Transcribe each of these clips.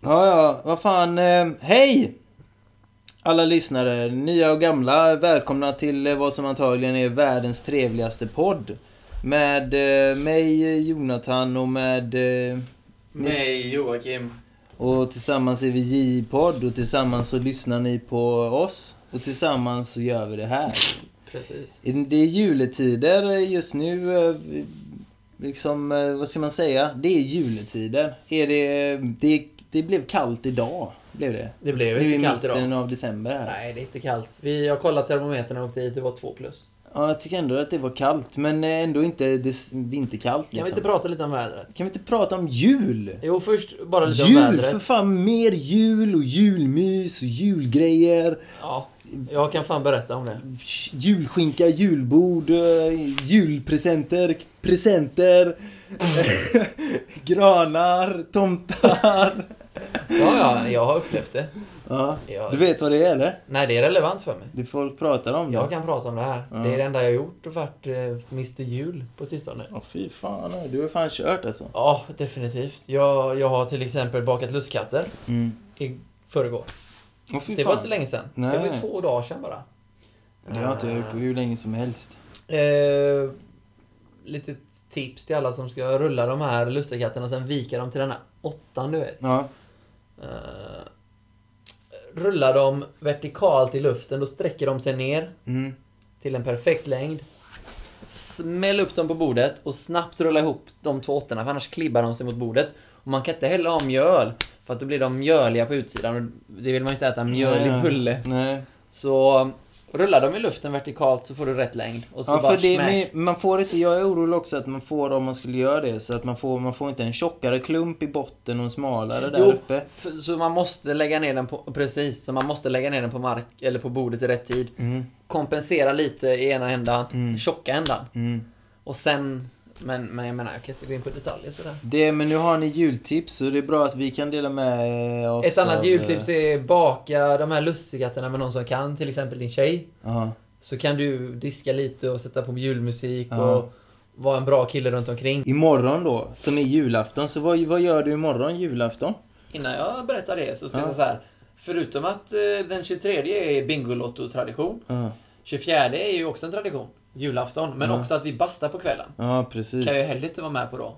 Ja, ja, vad fan. Eh, hej! Alla lyssnare, nya och gamla, välkomna till eh, vad som antagligen är världens trevligaste podd. Med eh, mig, eh, Jonathan och med... Eh, Nej, Joakim. och tillsammans är vi J-podd och tillsammans så lyssnar ni på oss. Och tillsammans så gör vi det här. Precis. Det är juletider just nu. eh, Liksom, eh, vad ska man säga? Det är juletider. Är det, det, det blev kallt idag. Blev det. Det blev Nu i inte kallt mitten idag. av december här. Nej, det är inte kallt. Vi, jag kollade termometern och åkte hit, det var 2 plus. Ja, jag tycker ändå att det var kallt. Men eh, ändå inte des- vinterkallt. Kan Liksom. vi inte prata lite om vädret? kan vi inte prata om jul? Jo, först bara lite om Jul! vädret. För fan, mer jul och julmys och julgrejer. Ja, jag kan fan berätta om det. Julskinka, julbord, eh, julpresenter, presenter, granar, tomtar. Ja, ja, jag har upplevt det. Ja, Ja. du vet vad det är eller? Nej, det är relevant för mig. Det folk pratar om det. Jag kan prata om det här. Mm. Ja. Det är det enda jag har gjort och varit eh, Mr Jul på sistone. Ja, fy fan. nej, Du har fan kört alltså. Ja, definitivt. Jag, jag har till exempel bakat lussekatter Mm. i förrgår. Åh, fy Det var fan. inte länge sedan. Nej. Det var ju två dagar sedan bara. Det har inte jag gjort på hur länge som helst. Eh, lite tips till alla som ska rulla de här lussekatterna och sen vika dem till den här åttan du vet. Ja. Eh, rulla dem vertikalt i luften, då sträcker de sig ner Mm. till en perfekt längd. Smäll upp dem på bordet och snabbt rulla ihop de två åttorna för annars klibbar de sig mot bordet. Och man kan inte hälla ha mjöl för att då blir de mjöliga på utsidan och det vill man ju inte äta, mjölig Nej. bulle. Nej. Så rulla dem i luften vertikalt så får du rätt längd. Och så Ja, bara för det, smack. men man får inte, jag är orolig också att man får om man skulle göra det. Så att man får, man får inte en tjockare klump i botten och en smalare där Jo, uppe. f- så man måste lägga ner den på, precis, så man måste lägga ner den på mark, eller på bordet i rätt tid. Mm. Kompensera lite i ena ändan, Mm. tjocka ändan. Mm. Och sen, men, men jag menar, jag kan inte gå in på detaljer sådär. Det, men nu har ni jultips så det är bra att vi kan dela med eh, oss Ett annat av, jultips eh, är baka de här lussekatterna med någon som kan, till exempel din tjej. Ja, Så kan du diska lite och sätta på julmusik Ja. och vara en bra kille runt omkring. Imorgon då, som är julafton, så vad, vad gör du imorgon julafton? Innan jag berättar det så ska Ja. jag säga så här. Förutom att eh, den 23 är Bingolotto-tradition. Ja, 24 är ju också en tradition. Julafton. Men också att vi bastar på kvällen. ja precis. Kan jag heller inte vara med på då.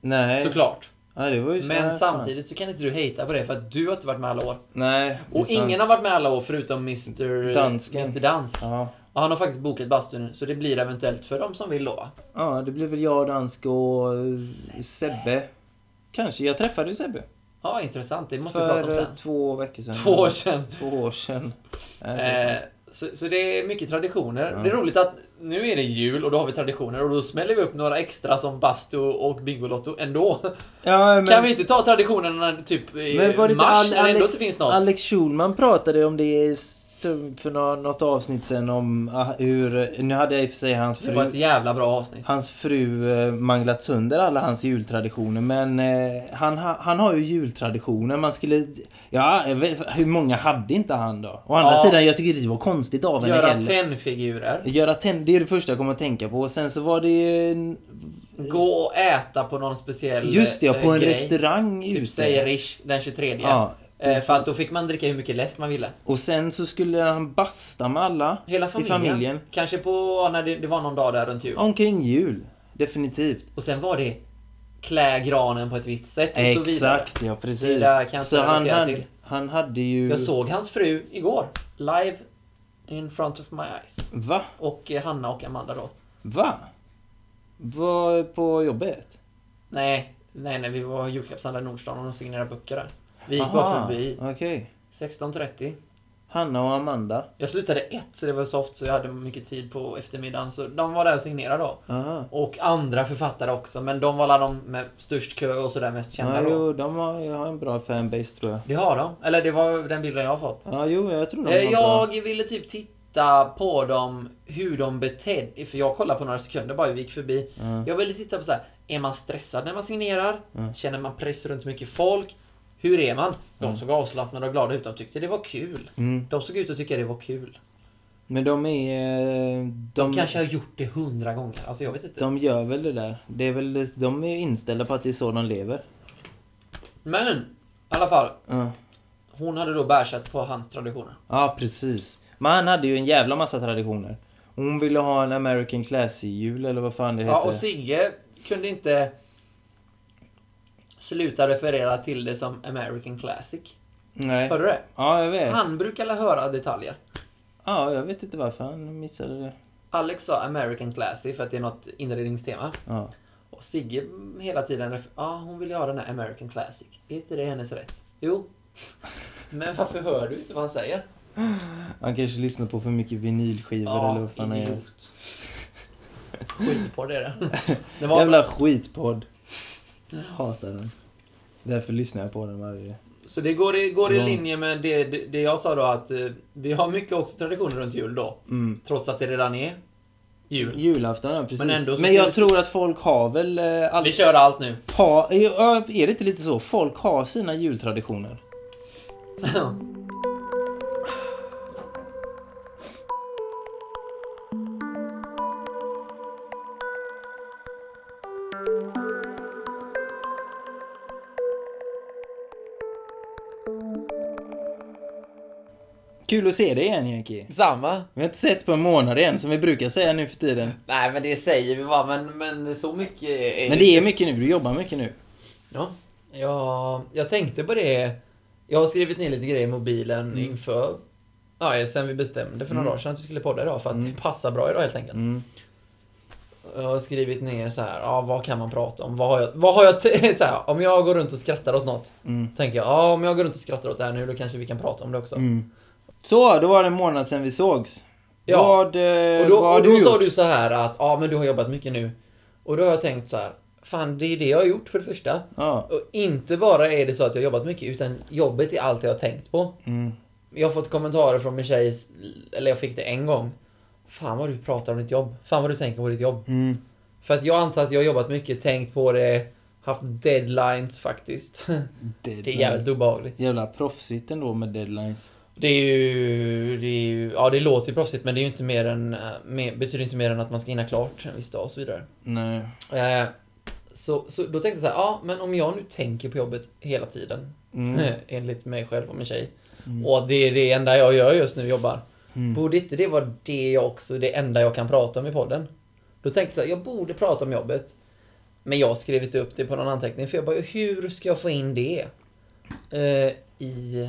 Nej. Såklart. Ja, det var ju så här, Men fan. samtidigt så kan inte du hejta på det för att du har inte varit med alla år. Nej. det är Och sant. ingen har varit med alla år förutom Mr... Dansken. Mr Dansk. Ja. Och han har faktiskt bokat bastu nu så det blir eventuellt för dem som vill då. va? ja, det blir väl jag, Dansk och eh, Sebbe. Kanske. Jag träffade ju Sebbe. Ja, intressant. Det måste vi prata För om eh, sen. två veckor sedan. Två år sedan. Två år sedan. Nej, det- Eh, så, så det är mycket traditioner. Ja. Det är roligt att nu är det jul och då har vi traditioner och då smäller vi upp några extra som bastu och Bingolotto ändå. ja, men, Kan vi inte ta traditionerna när typ i men var det inte mars Al- när det ändå Alex- inte finns något? Alex Schulman pratade om det i- för nå- något avsnitt sen om ah, hur... Nu hade jag i och för sig hans det var ett fru... jävla bra avsnitt. Hans fru eh, manglat sönder alla hans jultraditioner men eh, han, ha- han har ju jultraditioner. Man skulle... Ja, jag vet, hur många hade inte han då? Å andra Ja. sidan, jag tycker det var konstigt av henne Göra heller. tennfigurer. Göra tänd, det är det första jag kommer att tänka på. Och sen så var det ju... Gå och äta på någon speciell Mm. Just det, ja, eh, på en grej. restaurang Typ ute. säger Rish den 23. Ja, eh, för att då fick man dricka hur mycket läsk man ville. Och sen så skulle han basta med alla Hela familjen. i familjen. Kanske på, ja, när det, det var någon dag där runt jul. Omkring jul. Definitivt. Och sen var det klä granen på ett visst sätt och så vidare. Exakt, ja Det precis. där kan jag Så inte han relatera hade, till. han hade ju... Jag såg hans fru igår. Live in front of my eyes. Va? Och eh, Hanna och Amanda då. Va? Var på jobbet? Nej, nej, nej, vi var i julklappshandlaren i Nordstan och de signerade böcker där. Vi gick bara Aha, förbi. Okej. 16.30. Hanna och Amanda. Jag slutade ett så det var soft så jag hade mycket tid på eftermiddagen. Så de var där och signerade då. Aha. Och andra författare också, men de var alla de med störst kö och sådär mest kända Ja, då. jo, de har, jag har en bra fanbase tror jag. Det har de. Eller det var den bilden jag har fått. Ja, jo, jag tror de har Eh, bra. Jag ville typ titta på dem, hur de betedde För jag kollade på några sekunder bara, vi gick förbi. Ja. Jag ville titta på så här. är man stressad när man signerar? Mm. Känner man press runt mycket folk? Hur är man? De såg avslappnade och glada ut. De tyckte det var kul. Mm. De såg ut att tycka det var kul. Men de är... eh, De, De kanske har gjort det hundra gånger. Alltså jag vet inte. de gör väl det där. Det är väl, de är ju inställda på att det är så de lever. Men! I alla fall, Ja, hon hade då bärsat på hans traditioner. ja precis. Men han hade ju en jävla massa traditioner. Hon ville ha en American Classy-jul eller vad fan det heter. Ja, och Sigge kunde inte sluta referera till det som American Classic. Nej. Hörde du det? Ja, jag vet. Han brukar alla höra detaljer. Ja, jag vet inte varför han missade det. Alex sa American Classic för att det är något inredningstema. Ja. Och Sigge hela tiden, ref- ja hon vill ju ha den här American Classic. Är inte det hennes rätt? Jo. Men varför hör du inte vad han säger? Han kanske lyssnar på för mycket vinylskivor eller vad fan han gör. idiot. Skitpodd är det. det var Jävla skitpodd. Hatar den. Därför lyssnar jag på den varje... Så det går i, går i Ja. linje med det, det, det jag sa då att eh, vi har mycket också traditioner runt jul då. Mm. Trots att det redan är jul. Julafton, ja, precis. Men, Men ändå så ska jag vi- tror att folk har väl... Eh, all... Vi kör allt nu. ha... Ja, Är det inte lite så? Folk har sina jultraditioner. Kul att se dig igen, Yankee. Samma. Vi har inte sett på en månad igen, som vi brukar säga nu för tiden. Nej men det säger vi bara, men, men så mycket är Men det är mycket nu, du jobbar mycket nu. Ja, jag, jag tänkte på det. Jag har skrivit ner lite grejer i mobilen Mm. inför... Ja, sen vi bestämde för några dagar sedan att vi skulle podda idag för att det passar bra idag helt enkelt. Mm. Jag har skrivit ner så här, ja vad kan man prata om? Vad har jag... Vad har jag t- så här, om jag går runt och skrattar åt något, Mm. tänker jag, ja om jag går runt och skrattar åt det här nu då kanske vi kan prata om det också. Mm. Så, då var det en månad sedan vi sågs. Ja. Vad, eh, Och då, vad har och då du sa gjort? du så här att, ja men du har jobbat mycket nu. Och då har jag tänkt så här, fan det är det jag har gjort för det första. Ja. Och inte bara är det så att jag har jobbat mycket, utan jobbet är allt jag har tänkt på. Mm. Jag har fått kommentarer från min tjej, eller jag fick det en gång. Fan vad du pratar om ditt jobb. Fan vad du tänker på ditt jobb. Mm. För att jag antar att jag har jobbat mycket, tänkt på det, haft deadlines faktiskt. Det är jävligt obehagligt. Jävla proffsigt ändå med deadlines. Det är ju, det är ju, ja det låter ju proffsigt men det är ju inte mer än, eh, mer, betyder inte mer än att man ska hinna klart en viss dag och så vidare. Nej. Eh, så, så då tänkte jag så här, ja men om jag nu tänker på jobbet hela tiden, Mm. Eh, enligt mig själv och min tjej, och det är det enda jag gör just nu, jobbar. Mm. Borde inte det vara det jag också, det enda jag kan prata om i podden? Då tänkte jag så här, jag borde prata om jobbet. Men jag har skrivit upp det på någon anteckning för jag bara, hur ska jag få in det? Eh, I...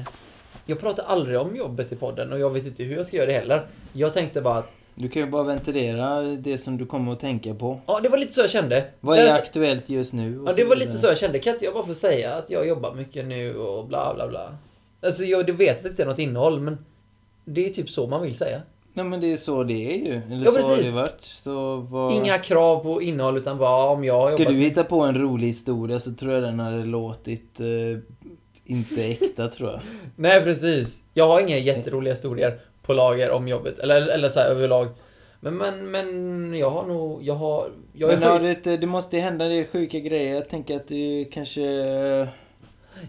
Jag pratar aldrig om jobbet i podden och jag vet inte hur jag ska göra det heller. Jag tänkte bara att, Du kan ju bara ventilera det som du kommer att tänka på. ja det var lite så jag kände. Vad är Där- aktuellt just nu? och Alltså- Ja, det var vidare. lite så jag kände. Kan inte jag bara få säga att jag jobbar mycket nu och bla bla bla? Alltså jag du vet att det inte är något innehåll men det är typ så man vill säga. Nej men det är så det är ju. Eller Ja, så har det precis. varit. Så vad... Inga krav på innehåll utan bara om jag har Ska jobbat... du hitta på en rolig historia så tror jag den hade låtit eh, inte äkta tror jag. Nej precis. Jag har inga jätteroliga historier på lager om jobbet. Eller, eller så här överlag. Men, men, men jag har nog... Jag har... Jag är Men har höjd... du inte, det måste ju hända det sjuka grejer. Jag tänker att du kanske... eh,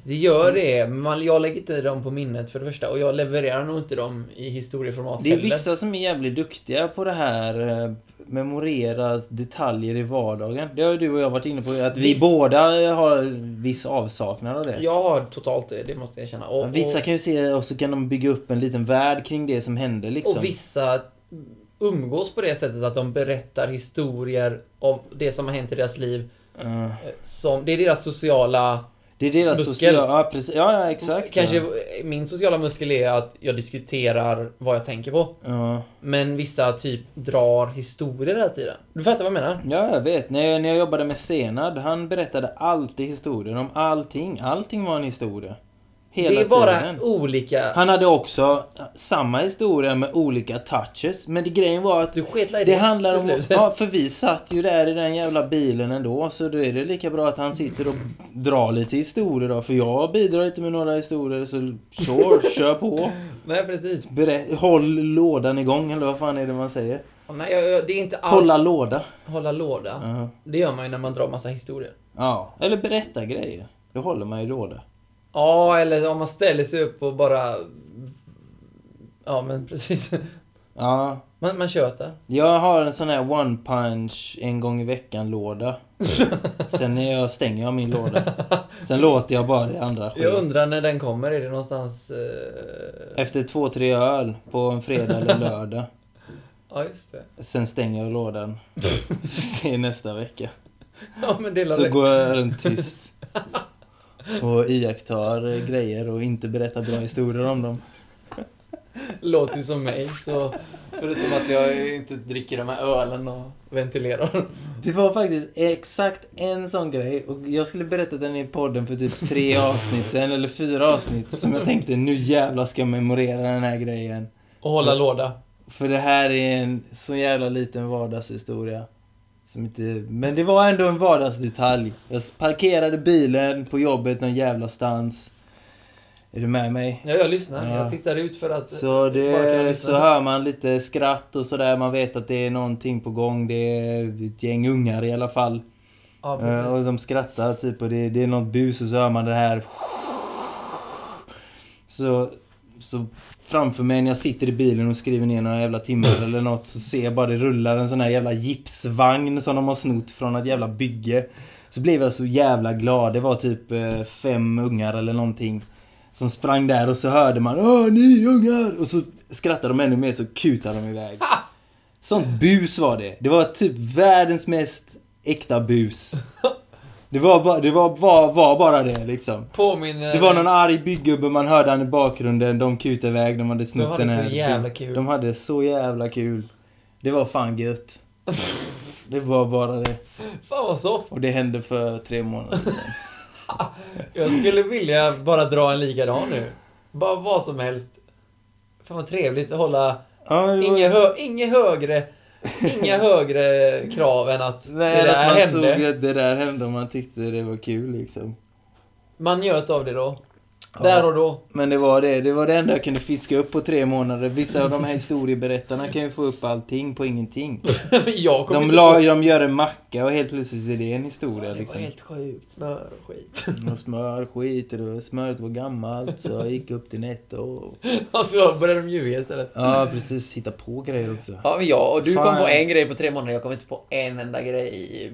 Det gör det. men Man, jag lägger inte dem på minnet för det första. Och jag levererar nog inte dem i historieformat Det är heller. vissa som är jävligt duktiga på det här. eh, Memorera detaljer i vardagen. Det har ju du och jag varit inne på. Att vi Viss- båda har viss avsaknad av det. Jag har totalt det, det måste jag erkänna. Och, och- Vissa kan ju se och så kan de bygga upp en liten värld kring det som hände liksom. Och vissa umgås på det sättet att de berättar historier av det som har hänt i deras liv. Eh, eh, Som, det är deras sociala... det är deras Muskel. sociala... Ja, precis. Ja, ja exakt. Kanske Ja. eh, min sociala muskel är att jag diskuterar vad jag tänker på. Ja. Men vissa typ drar historier hela tiden. Du fattar vad jag menar? Ja, jag vet. När jag, när jag jobbade med Senad, han berättade alltid historier om allting. Allting var en historia. Hela det är bara tiden. olika... Han hade också samma historia med olika touches. Men det, grejen var att Du sket i det handlar till om... slut. Ja, för vi satt ju där i den jävla bilen ändå. Så då är det lika bra att han sitter och drar lite historier då. För jag bidrar inte med några historier. Så sure, kör på. Nej, precis. Berä- håll lådan igång eller vad fan är det man säger? Nej, jag, jag, det är inte alls... Hålla låda. Hålla låda. Ja. Det gör man ju när man drar massa historier. Ja, eller berätta grejer. Då håller man ju låda. Ja, eller om man ställer sig upp och bara... Ja, men precis. Ja, Man, man tjötar. jag har en sån här one punch en gång i veckan låda. Sen är jag, stänger jag min låda. Sen låter jag bara det andra ske. Jag undrar när den kommer, är det någonstans... Eh... Efter två, tre öl på en fredag eller lördag. Ja, just det. Sen stänger jag lådan. Det är nästa vecka. Ja, men det är Så väl- går jag runt tyst. Och iakttar eh, grejer och inte berättar bra historier om dem. låter ju som mig, så... Förutom att jag inte dricker de här ölen och ventilerar. Det var faktiskt exakt en sån grej och jag skulle berätta den i podden för typ tre avsnitt sen eller fyra avsnitt som jag tänkte nu jävlar ska jag memorera den här grejen. Och hålla låda. För det här är en så jävla liten vardagshistoria. Som inte... Men det var ändå en vardagsdetalj. Jag parkerade bilen på jobbet någon jävla stans. Är du med mig? Ja, jag lyssnar. Ja. Jag tittar ut för att... Så, bara kunna det, lyssna. så hör man lite skratt och sådär. Man vet att det är någonting på gång. Det är ett gäng ungar i alla fall. Ja, Eh, och precis. de skrattar typ och det, det är något bus och så hör man det här. Så, så framför mig när jag sitter i bilen och skriver ner några jävla timmar eller något så ser jag bara det rullar en sån här jävla gipsvagn som de har snott från ett jävla bygge. Så blev jag så jävla glad. Det var typ eh, fem ungar eller någonting. Som sprang där och så hörde man Åh, ni ungar! Och så skrattade de ännu mer så kutade de iväg. Sånt bus var det. Det var typ världens mest äkta bus. Det var, ba, det var, var, var bara det liksom. Påminner... Det var någon arg byggubbe man hörde han i bakgrunden. De kutade iväg, de hade De snott hade den så här. jävla kul. De hade så jävla kul. Det var fan gött. Det var bara det. Fan vad soft. Och det hände för tre månader sedan. Jag skulle vilja bara dra en likadan nu. Bara vad som helst. Fan vad trevligt att hålla... Ja, men det var- Inga, hö, inga högre... Inga högre krav än att Nej, det där att man hände. såg att det där hände och man tyckte det var kul liksom. Man njöt av det då. Där och då. Men det var det. Det var det enda jag kunde fiska upp på tre månader. Vissa av de här historieberättarna kan ju få upp allting på ingenting. jag kom De, inte la, de gör en macka och helt plötsligt är det en historia Det var liksom. helt sjukt. Smör och skit. Och smör, skit och det- smöret var gammalt så jag gick upp till Netto och... Och så började de Alltså, ljuga istället. Ja precis, hitta på grejer också. Ja, men jag och du Fan. kom på en grej på tre månader. Jag kom inte på en enda grej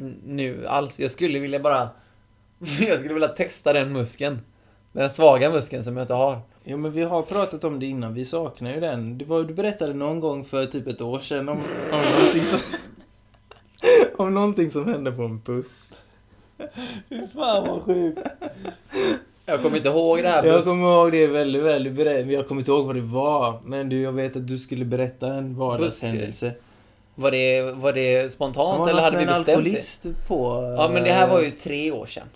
mm, nu alls. Jag skulle vilja bara... Jag skulle vilja testa den muskeln. Den svaga muskeln som jag inte har. Ja men vi har pratat om det innan, vi saknar ju den. Det var, du berättade någon gång för typ ett år sedan om, om någonting som... Om någonting som hände på en buss. Fan vad sjukt. Jag kommer inte ihåg det här. Jag plus- kommer ihåg det väldigt väl. Du berätt- Jag kommer inte ihåg vad det var. Men du, jag vet att du skulle berätta en vardagshändelse. Var, det, var det spontant Han var eller hade med vi en bestämt det? alkoholist på... eh, Ja, men det här var ju tre år sedan.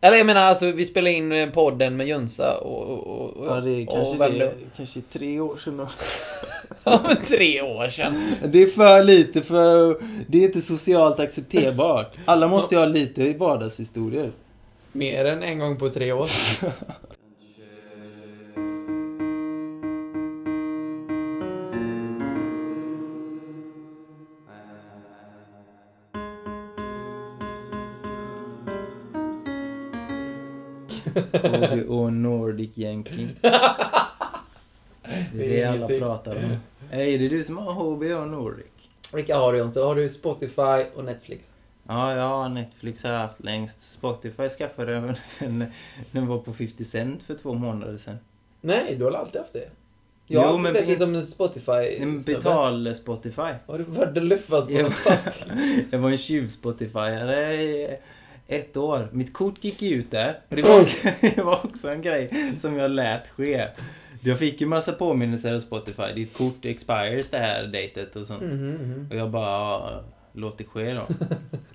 Eller jag menar, alltså vi spelade in eh, podden med Jönsa och... och, och Ja, det är kanske, och det, Värmdö. kanske tre år sedan. då. Ja, men tre år sedan. Det är för lite för... Det är inte socialt accepterbart. Alla måste ju ha lite i vardagshistorier. Mer än en gång på tre år. Och, det- och Nordic Yankee. Det är det alla ingenting. pratar om. Hey, är det du som har HBO Nordic? Vilka har du inte? Har du Spotify och Netflix? Ja, ja, Netflix har jag haft längst. Spotify skaffade jag men den var på 50 cent för två månader sedan. Nej, du har alltid haft det. Jag har Jo, alltid men sett be- dig som en spotify En snubbe. betal-Spotify. Har du varit och luffat på Jag, något fatt? jag var en tjuv-Spotifyare i ett år. Mitt kort gick ju ut där. Och det, var, det var också en grej som jag lät ske. Jag fick ju massa påminnelser av Spotify. Ditt kort expires det här datet och sånt. Mhm, mhm. Och jag bara, ja, låt det ske då.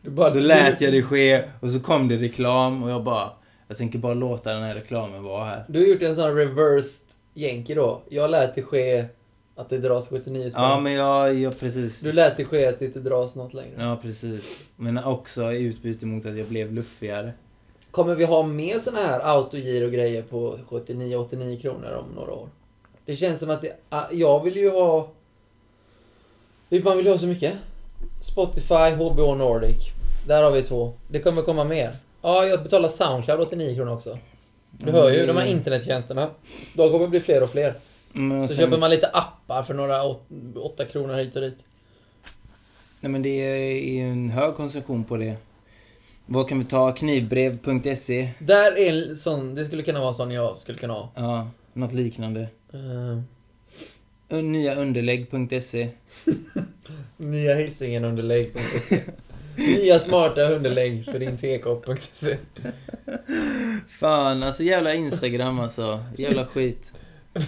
Du bara- Så lät jag det ske och så kom det reklam och jag bara, jag tänker bara låta den här reklamen vara här. Du har gjort en sån reversed Yankee då. Jag lät det ske att det dras 79 spänn. Ja men jag, jag precis. Mm. Du lät det ske att det inte dras något längre. Ja precis. Men också i utbyte mot att jag blev luffigare. Kommer vi ha mer såna här autogiro-grejer på 79-89 kronor om några år? Det känns som att det, ah, jag vill ju ha... Man vill ju ha så mycket. Spotify, HBO Nordic. Där har vi två. Det kommer komma mer. Ja, ah, jag betalar Soundcloud 89 kronor också. Du Mm, hör det ju, är- de här internettjänsterna. De kommer bli fler och fler. Men Så sen- köper man lite appar för några åt- åtta kronor hit och dit. Nej men det är ju en hög konsumtion på det. Vad kan vi ta? Knivbrev.se? Där är en sån, det skulle kunna vara en sån jag skulle kunna ha. Ja, något liknande. Uh, Un- Nya underlägg.se? nya hissingen underlägg.se Nya smarta underlägg för din tekopp.se Fan, alltså jävla Instagram alltså. Jävla skit.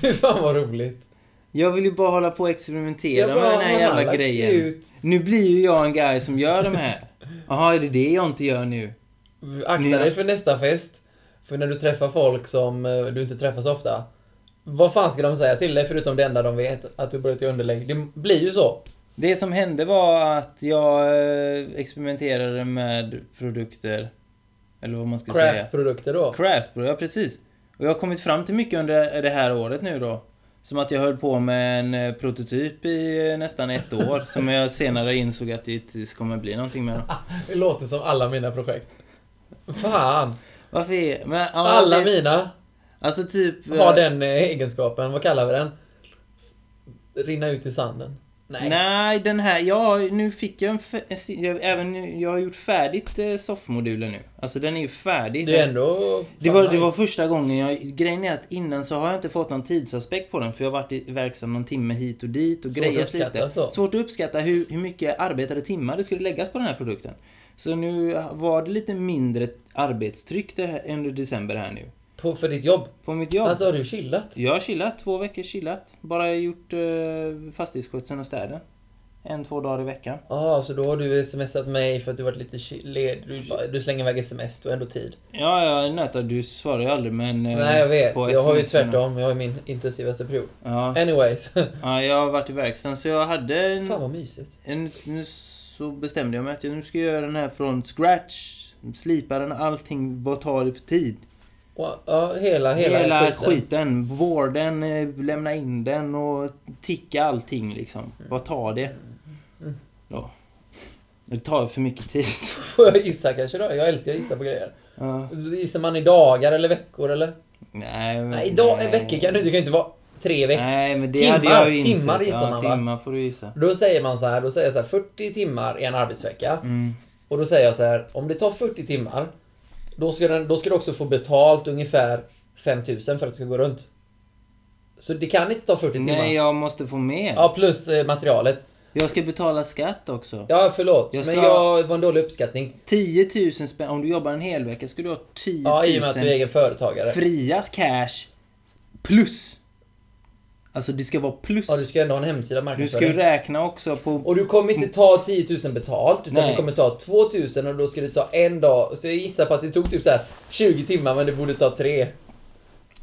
Fy fan vad roligt. Jag vill ju bara hålla på och experimentera bara, med den här han har jävla lagt grejen. Ut Nu blir ju jag en guy som gör de här. Jaha, är det det jag inte gör nu? Akta Nya- dig för nästa fest. För när du träffar folk som eh, du inte träffar så ofta. Vad fan ska de säga till dig förutom det enda de vet? Att du börjat i underlägg. Det blir ju så. Det som hände var att jag eh, experimenterade med produkter. Eller vad man ska säga. Craftprodukter då. Craft, bro. Ja, precis. Och jag har kommit fram till mycket under det här året nu då. Som att jag höll på med en eh, prototyp i eh, nästan ett år. som jag senare insåg att det inte kommer bli någonting med. Då. Det låter som alla mina projekt. Fan. Varför är... Men, ja, Alla det- mina Alltså typ... eh, har den eh, egenskapen. Vad kallar vi den? Rinna ut i sanden. Nej. eh, Nej. den här... Ja, nu fick jag en... f- en si- Jag, även, nu- jag har gjort färdigt eh, soffmodulen nu. Alltså den är ju färdig. Det är ändå... Det fan var, det var nice. första gången jag... Grejen är att innan så har jag inte fått någon tidsaspekt på den för jag har varit i- verksam någon timme hit och dit och Svårt att grejat uppskatta, lite. så. Svårt att uppskatta hur, hur mycket arbetade timmar det skulle läggas på den här produkten. Så nu var det lite mindre arbetstryck det här, under december här nu. På, för ditt jobb. På mitt jobb. Alltså har du chillat? Jag har chillat, två veckor chillat. Bara gjort eh, fastighetsskötseln och städen. En, två dagar i veckan. Ja, så då har du smsat mig för att du varit lite chi- led. Du, bara- du slänger iväg sms, du har ändå tid. Ja, ja, nöta, du svarar ju aldrig men... eh, Nej, jag vet. på Jag har ju SMS-erna. tvärtom. Mm. Jag har ju min intensivaste period. Ja. Anyways. Fan ja, jag har varit i verkstaden så jag hade en... vad mysigt. En, nu så bestämde jag mig att jag nu ska jag göra den här från scratch. Slipa den, allting. Vad tar det för tid? Och, ja, hela, hela, Hela, skiten. Vården, eh, lämna in den och ticka allting liksom. Vad tar det? Mm. Ja. Det tar för mycket tid. Får jag gissa kanske då? Jag älskar att gissa på grejer. Ja. Gissar man i dagar eller veckor eller? Nej, men- Nej, idag, en vecka kan du Det kan ju inte vara tre veckor. Nej, men det Timmar, hade jag ju insett. timmar gissar ja, man, va? Timmar får du gissa. Då säger man så här, då säger jag så här 40 timmar i en arbetsvecka. Mm. Och då säger jag så här, om det tar 40 timmar, då ska, den, då ska du också få betalt ungefär 5000 för att det ska gå runt. Så det kan inte ta 40 timmar. Nej, jag måste få med. Ja, plus eh, materialet. Jag ska betala skatt också. Ja, förlåt. Jag Men ska- jag det var en dålig uppskattning. 10 000 spänn. Om du jobbar en hel vecka ska du ha 10 000. Ja, i och med att du är egen företagare. Fria cash plus. Alltså det ska vara plus. Ja, du ska ändå ha en hemsida du ska ju marknadsföring. räkna också på... Och du kommer inte ta 10 000 betalt, utan Nej. du kommer ta 2000 och då ska du ta en dag. Så jag gissar på att det tog typ så här 20 timmar, men det borde ta tre.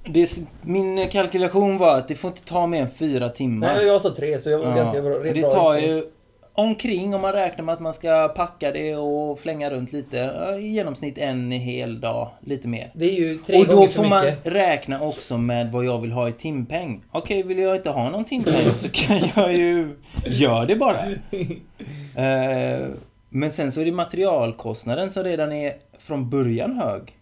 Det, s- min kalkylation var att det får inte ta mer än fyra timmar. Nej, jag sa tre, så jag var Ja. ganska bra. rätt Det bra tar gissning. ju omkring, om man räknar med att man ska packa det och flänga runt lite, ja, i genomsnitt en hel dag, lite mer. Det är ju tre och då gånger för får man mycket. räkna också med vad jag vill ha i timpeng. Okej, vill jag inte ha någon timpeng så kan jag ju... Gör det bara. Eh, men sen så är det materialkostnaden som redan är från början hög.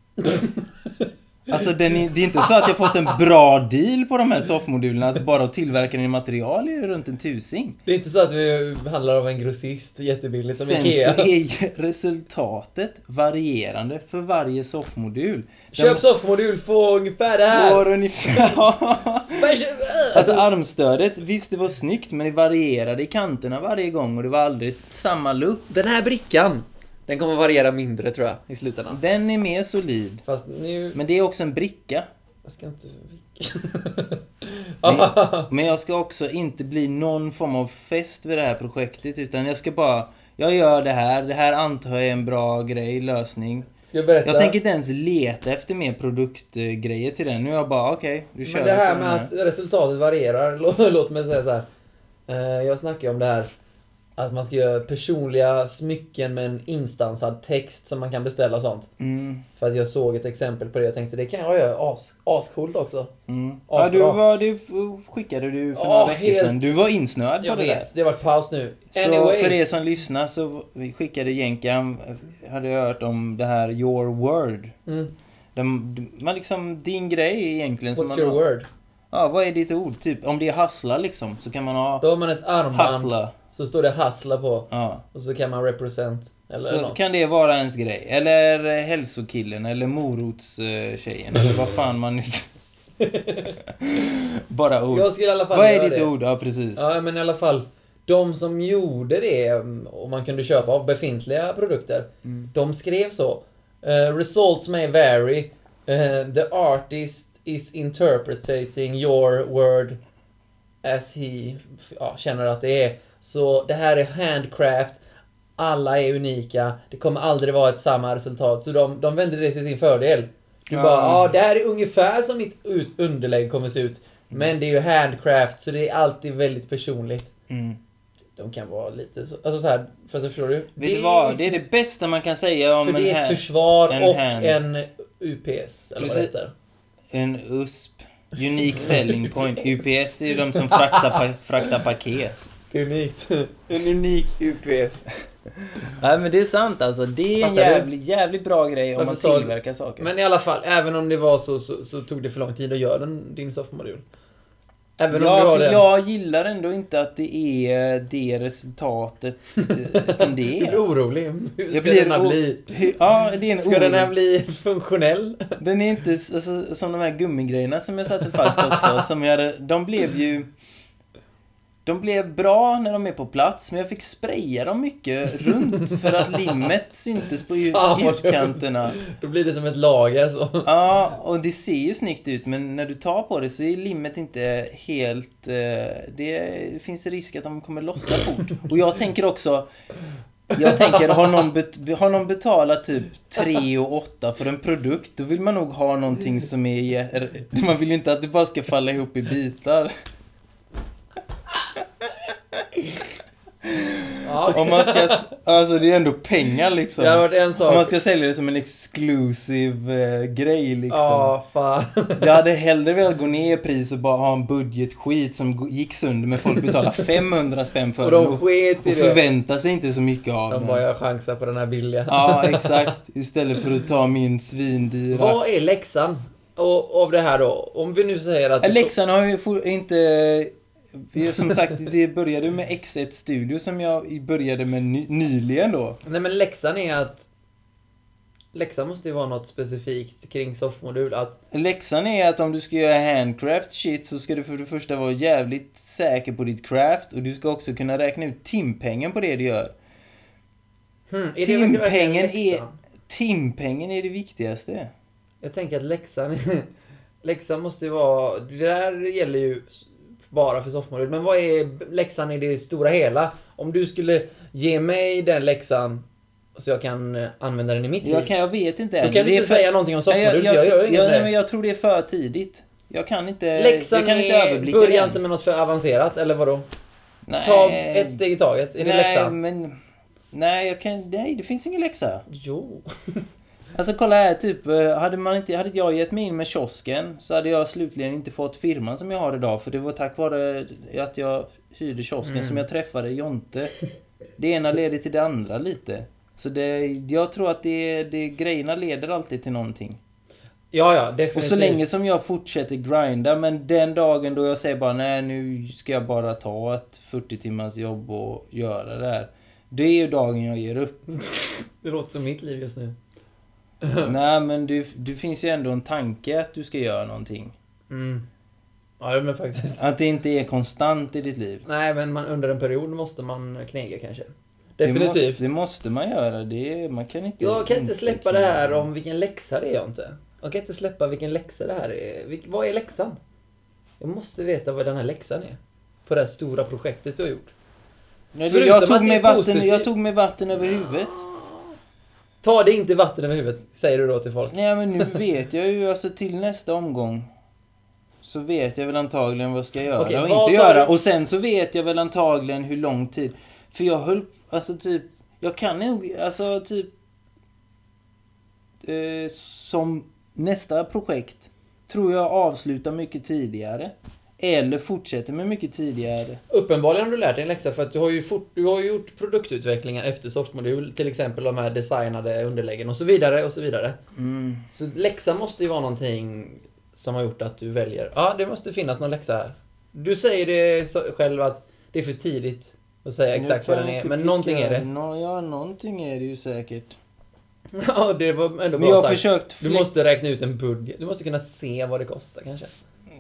Alltså den är, det är inte så att jag fått en bra deal på de här soffmodulerna. Alltså bara att tillverka den i material är ju runt en tusing. Det är inte så att vi handlar av en grossist jättebilligt som Sen Ikea. så är ju resultatet varierande för varje soffmodul. Köp soffmodul, få ungefär det Den här! får ungefär... Alltså Alltså, armstödet, visst det var snyggt men det varierade i kanterna varje gång och det var aldrig samma lupp. den här brickan, den kommer variera mindre tror jag i slutändan. Den är mer solid. Fast nu... Men det är också en bricka. Jag ska inte... Men, Ah, men jag ska också inte bli någon form av fest vid det här projektet utan jag ska bara... Jag gör det här, det här antar jag är en bra grej, lösning. ska jag berätta? Jag tänker inte ens leta efter mer produktgrejer till den. Nu är jag bara okej, du kör Men det vi på här den med att resultatet varierar, lå- låt mig säga så här. Eh, Jag snackar ju om det här att man ska göra personliga smycken med en instansad text som man kan beställa och sånt. Mm, För att jag såg ett exempel på det och tänkte det kan jag göra as, ascoolt också. mm. Ja, Ja, du bra. var, det skickade du för Ja, några veckor helt- sedan. Du var insnöad Jag på det där. vet, det har varit paus nu. Så Anyways. för er som lyssnar så vi skickade Jenkan, hade jag hört om det här Your Word. mm. Där man liksom, din grej är egentligen som What's man your har. word? Ja, vad är ditt ord? Typ, om det är hassla liksom så kan man ha Då har man ett armband hassla. Så står det hassla på. Ja. Och så kan man represent. Eller Så något. kan det vara ens grej. Eller eh, hälsokillen, eller morotstjejen, eller vad fan man nu... Bara ord. Jag skulle i alla fall Vad är göra ditt det. ord? Ja, precis. Ja, men i alla fall. De som gjorde det, mm, och man kunde köpa av befintliga produkter, de skrev så. Eh, results may vary. Eh, the artist is interpreting your word as he f- ja, känner att det är. Så det här är handcraft. Alla är unika. Det kommer aldrig vara ett samma resultat. Så de, de vände det till sin fördel. Du Ja. bara, ja det här är ungefär som mitt ut- underlägg kommer se ut. Men det är ju handcraft, så det är alltid väldigt personligt. Mm. De kan vara lite så, alltså så här, för så förstår du? Vet du vad? Det är det bästa man kan säga om För det en, är ett här, försvar en och hand. en UPS, eller vad det Precis. heter. en USP. Unique selling point. UPS är ju de som fraktar, pa- fraktar paket. Unikt. En unik UPS. Nej men det är sant alltså. Det är en Fattar du? jävligt, jävligt bra grej om Varför man sa du- tillverkar saker. Men i alla fall, även om det var så, så, så tog det för lång tid att göra den, din soffmodul. Även om ja, du har för den. jag gillar ändå inte att det är eh, det resultatet eh, som det Du är. blir orolig. Hur ska Jag blir den här o- bli? Ja, det är en Ska den här oro. bli funktionell? Den är inte s- alltså, som de här gummigrejerna som jag satte fast också. Som jag, hade- de blev ju... De blev bra när de är på plats, men jag fick spraya dem mycket runt för att limmet syntes på ut- Fan, vad dumt. utkanterna. Då blir det som ett lager så. Ja, och det ser ju snyggt ut, men när du tar på det så är limmet inte helt... Eh, det finns en risk att de kommer lossa fort. Och jag tänker också... Jag tänker, har någon, bet- har någon betalat typ 3 och 8 för en produkt, då vill man nog ha någonting som är... Man vill ju inte att det bara ska falla ihop i bitar. Ja, Om man ska... s- Alltså det är ändå pengar liksom. Det har varit en sak. Om man ska sälja det som en exklusiv eh, grej liksom. Ja, fan. Jag hade hellre velat gå ner i pris och bara ha en budgetskit som g- gick sönder men folk betalade 500 spänn för Och den de och, sket i och det. förväntade sig inte så mycket av De den. bara, jag chansar på den här billiga. Ja, exakt. Istället för att ta min svindyra. Vad är läxan? Och, av det här då? Om vi nu säger att... Eh, Leksand har ju for- inte... eh, Som sagt, det började med X1 Studio som jag började med ny- nyligen då. Nej men läxan är att... Läxan måste ju vara något specifikt kring soffmodul. Att Läxan är att om du ska göra handcraft shit så ska du för det första vara jävligt säker på ditt craft och du ska också kunna räkna ut timpengen på det du gör. hmm, är det verkligen Timpengen är, läxan? timpengen är det viktigaste. Jag tänker att läxan... läxan måste ju vara... Det där gäller ju s- bara för soffmodul. Men vad är läxan i det stora hela? Om du skulle ge mig den läxan så jag kan eh, använda den i mitt Jag, liv. kan, jag vet inte Då kan du inte säga någonting om Nej, soffmodul, för jag gör ju inget jag, med nej, det. men jag tror det är för tidigt. Jag kan inte, Läxan jag kan inte är... överblicka Börja det inte än. med något för avancerat, eller vadå? nej, Ta ett steg i taget. Är det nej, läxan? Men, nej, jag kan, nej, det finns ingen läxa. Jo. Alltså kolla här, typ, eh, hade, man inte, hade jag gett mig in med kiosken så hade jag slutligen inte fått firman som jag har idag. För det var tack vare att jag hyrde kiosken som jag träffade Jonte. Det ena leder till det andra lite. Så det, jag tror att det, det, grejerna leder alltid till någonting. Ja, ja, Och definitivt. så länge som jag fortsätter grinda, men den dagen då jag säger bara nej nu ska jag bara ta ett 40 timmars jobb och göra det här. Det är ju dagen jag ger upp. Det låter som mitt liv just nu. nej men det, det finns ju ändå en tanke att du ska göra någonting. Mm. Ja, men faktiskt. Att det inte är konstant i ditt liv. Nej, men man, under en period måste man knega kanske. Det Definitivt. måste, det måste man göra. Det, är- man kan inte... Jag kan inte släppa det här Mm. om vilken läxa det är, jag inte. Jag kan inte släppa vilken läxa det här är. Vilk, vad är läxan? Jag måste veta vad den här läxan är. På det här stora projektet du har gjort. Nej, det- Förutom Jag att det tog, är mig vatten, positivt. jag tog mig vatten över huvudet. Ta det inte vatten över huvudet, säger du då till folk. Nej men nu vet jag ju, alltså till nästa omgång så vet jag väl antagligen vad jag ska göra Okej, och vad inte tar göra. du- Och sen så vet jag väl antagligen hur lång tid. För jag höll, alltså typ, jag kan nog, alltså typ eh, som nästa projekt tror jag avslutar mycket tidigare. Eller fortsätter med mycket tidigare. Uppenbarligen har du lärt dig en läxa för att du har ju, fort, du har ju gjort produktutvecklingar efter softmodul, till exempel de här designade underläggen och så vidare och så vidare. Så läxa måste ju vara någonting som har gjort att du väljer, ja det måste finnas någon läxa här. Du säger det så- själv att det är för tidigt. och säga Nu exakt kan vad den jag är. inte Men någonting pricka- är det. Nå- ja, någonting är det ju säkert. Ja, det var ändå Men bra jag har sagt. försökt... Du måste räkna ut en budget. Du måste kunna se vad det kostar kanske.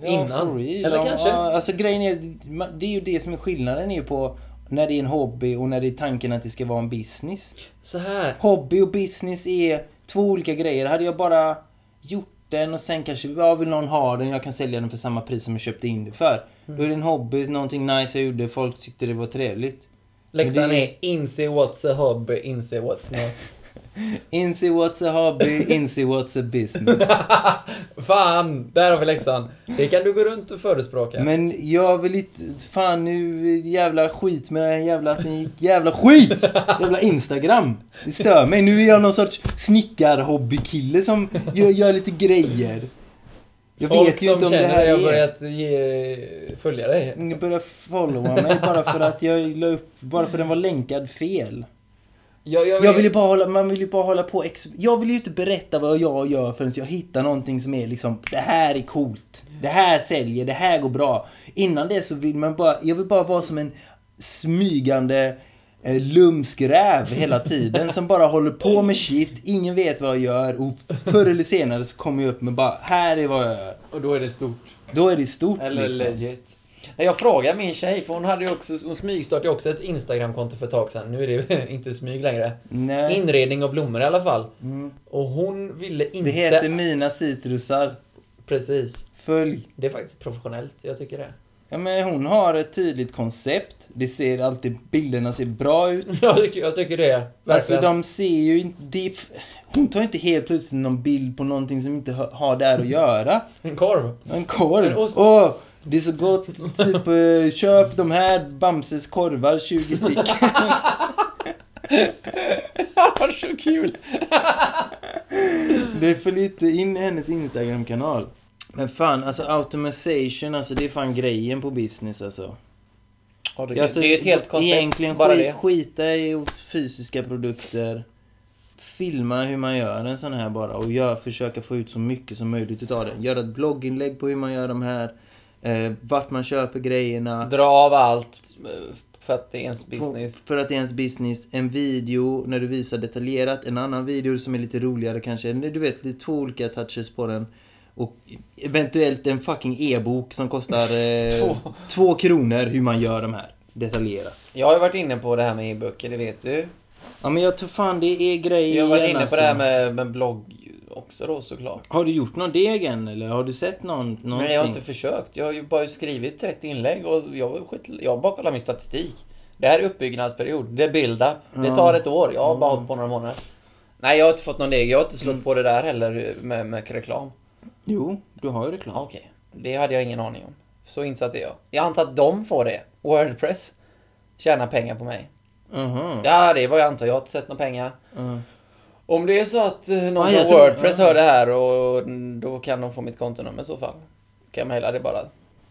innan. Eller Eller kanske- kanske? Alltså grejen är, man- det är ju det som är skillnaden är ju på när det är en hobby och när det är tanken att det ska vara en business. Så här. Hobby och business är två olika grejer. Hade jag bara gjort den och sen kanske, ja vill någon ha den, jag kan sälja den för samma pris som jag köpte in det för. Mm. Då är det en hobby, någonting nice jag gjorde, folk tyckte det var trevligt. Läxan Men det- är inse what's a hobby, inse what's not. Inse what's a hobby, inse what's a business. Fan! Där har vi läxan. Det kan du gå runt och förespråka. Men jag vill inte, fan nu jävla skit med den här jävla, att ni- jävla skit! Jävla Instagram! Det stör mig, nu är jag någon sorts snickarhobbykille som gör, gör lite grejer. Jag vet Folk ju som inte om det känner här dig har är... börjat ge, följa dig. Ni börjar followa mig bara för att jag la upp, bara för att den var länkad fel. Jag, Jag vill ju bara hålla, man vill ju bara hålla på ex- Jag vill ju inte berätta vad jag gör förrän jag hittar någonting som är liksom Det här är coolt. Det här säljer, det här går bra. Innan det så vill man bara, jag vill bara vara som en smygande eh, lumsk räv hela tiden som bara håller på med shit, ingen vet vad jag gör och förr eller senare så kommer jag upp med bara här är vad jag gör. Och då är det stort. Då är det stort Eller liksom. legit. Nej, Jag frågade min tjej, för hon, hade ju också, hon smygstartade ju också ett Instagramkonto för ett tag sedan. Nu är det inte smyg längre. Nej. Inredning och blommor i alla fall. Mm. Och hon ville inte... Det heter mina citrusar. Precis. Följ. Det är faktiskt professionellt, jag tycker det. Ja, men hon har ett tydligt koncept. Det ser alltid, bilderna ser bra ut. Jag tycker, jag tycker det. Alltså Verkligen. de ser ju inte, det är f- hon tar inte helt plötsligt någon bild på någonting som inte hö- har där att göra. En korv. En En korv. ost. Åh, det är så gott. Typ, eh, köp de här Bamses korvar, 20 styck. Vad så kul! Det följer inte in i hennes Instagram-kanal. Men fan, alltså automation, alltså det är fan grejen på business alltså. Ja, det, Alltså, det är ju ett helt koncept, Egentligen bara skit, det. skita i fysiska produkter. Filma hur man gör en sån här bara och gör, försöka få ut så mycket som möjligt utav den. Gör ett blogginlägg på hur man gör de här. Eh, vart man köper grejerna. Dra av allt eh, för att det är ens business. På, för att det är ens business. En video när du visar detaljerat. En annan video som är lite roligare kanske. Du vet, det är två olika touches på den. Och eventuellt en fucking e-bok som kostar eh, Två. två kronor hur man gör de här. Detaljerat. Jag har ju varit inne på det här med e-böcker, det vet du. Ja men jag tror fan det är grejer Jag har varit inne på det här med, med blogg också då såklart. Har du gjort någon deg än eller har du sett någon, någonting? Nej, jag har inte försökt. Jag har ju bara skrivit 30 inlägg och jag, var skit, jag har bara kollat min statistik. Det här är uppbyggnadsperiod, det är build-up. Det tar ett år. Jag har bara hållit på några månader. Nej, jag har inte fått någon deg. Jag har inte Mm. slått på det där heller med, med reklam. Jo, du har ju Ja, reklam. Okej, det hade jag ingen aning om. Så insatt är jag. Jag antar att de får det. Wordpress tjänar pengar på mig. Jaha. Ja, det var jag antar. Jag har inte sett några pengar. Ja. Om det är så att eh, någon Ah, från jag tror- Wordpress ah. hör det här och mm, då kan de få mitt kontonummer i så fall. Kan jag mejla det bara.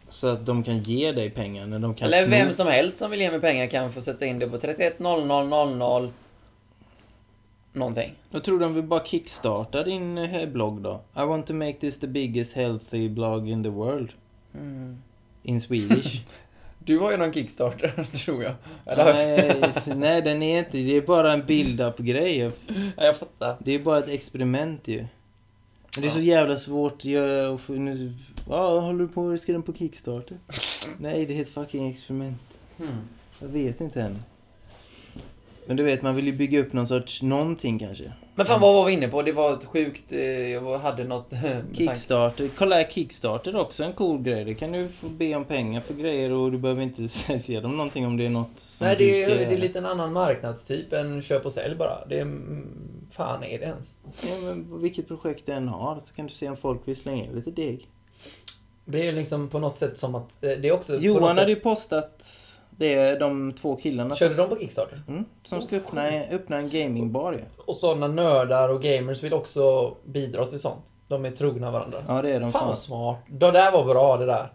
Så att de kan ge dig pengar när de kan Eller sno. vem som helst som vill ge mig pengar kan få sätta in det på 310000 någonting. Jag tror de vill bara kickstarta din eh, blogg då. I want to make this the biggest healthy blog in the world. Mm. In Swedish. Du har ju någon Kickstarter, tror jag. Eller har jag- nej, s- nej, den är inte. Det är bara en build-up grej. Ja, jag fattar. Det är bara ett experiment ju. Men det är så jävla svårt jag, att få... Nu, ja, håller du på att ska den på Kickstarter? Nej, det är ett fucking experiment. Hmm. Jag vet inte än. Men du vet, man vill ju bygga upp någon sorts någonting kanske. Men fan, vad var vi inne på? Det var ett sjukt... eh, Jag var- hade något... eh, med tanke- Kickstarter. Kolla här, Kickstarter är också en cool grej. Det kan du få be om pengar för grejer och du behöver inte sälja dem någonting om det är något som Nej, du det är, ska det är göra. lite en annan marknadstyp än köp och sälj bara. Det är... mm, Fan är det ens? Ja, men vilket projekt du än har så kan du se om folk vill slänga in lite deg. Det är ju liksom på något sätt som att... eh, Det är också... på något Johan hade sätt, ju postat det, de två killarna som Körde de på Kickstarter? Mm, som ska öppna, öppna en gamingbar ju. Och sådana nördar och gamers vill också bidra till sånt. De är trogna varandra. Ja det är de fan fan. vad smart. Det där var bra det där.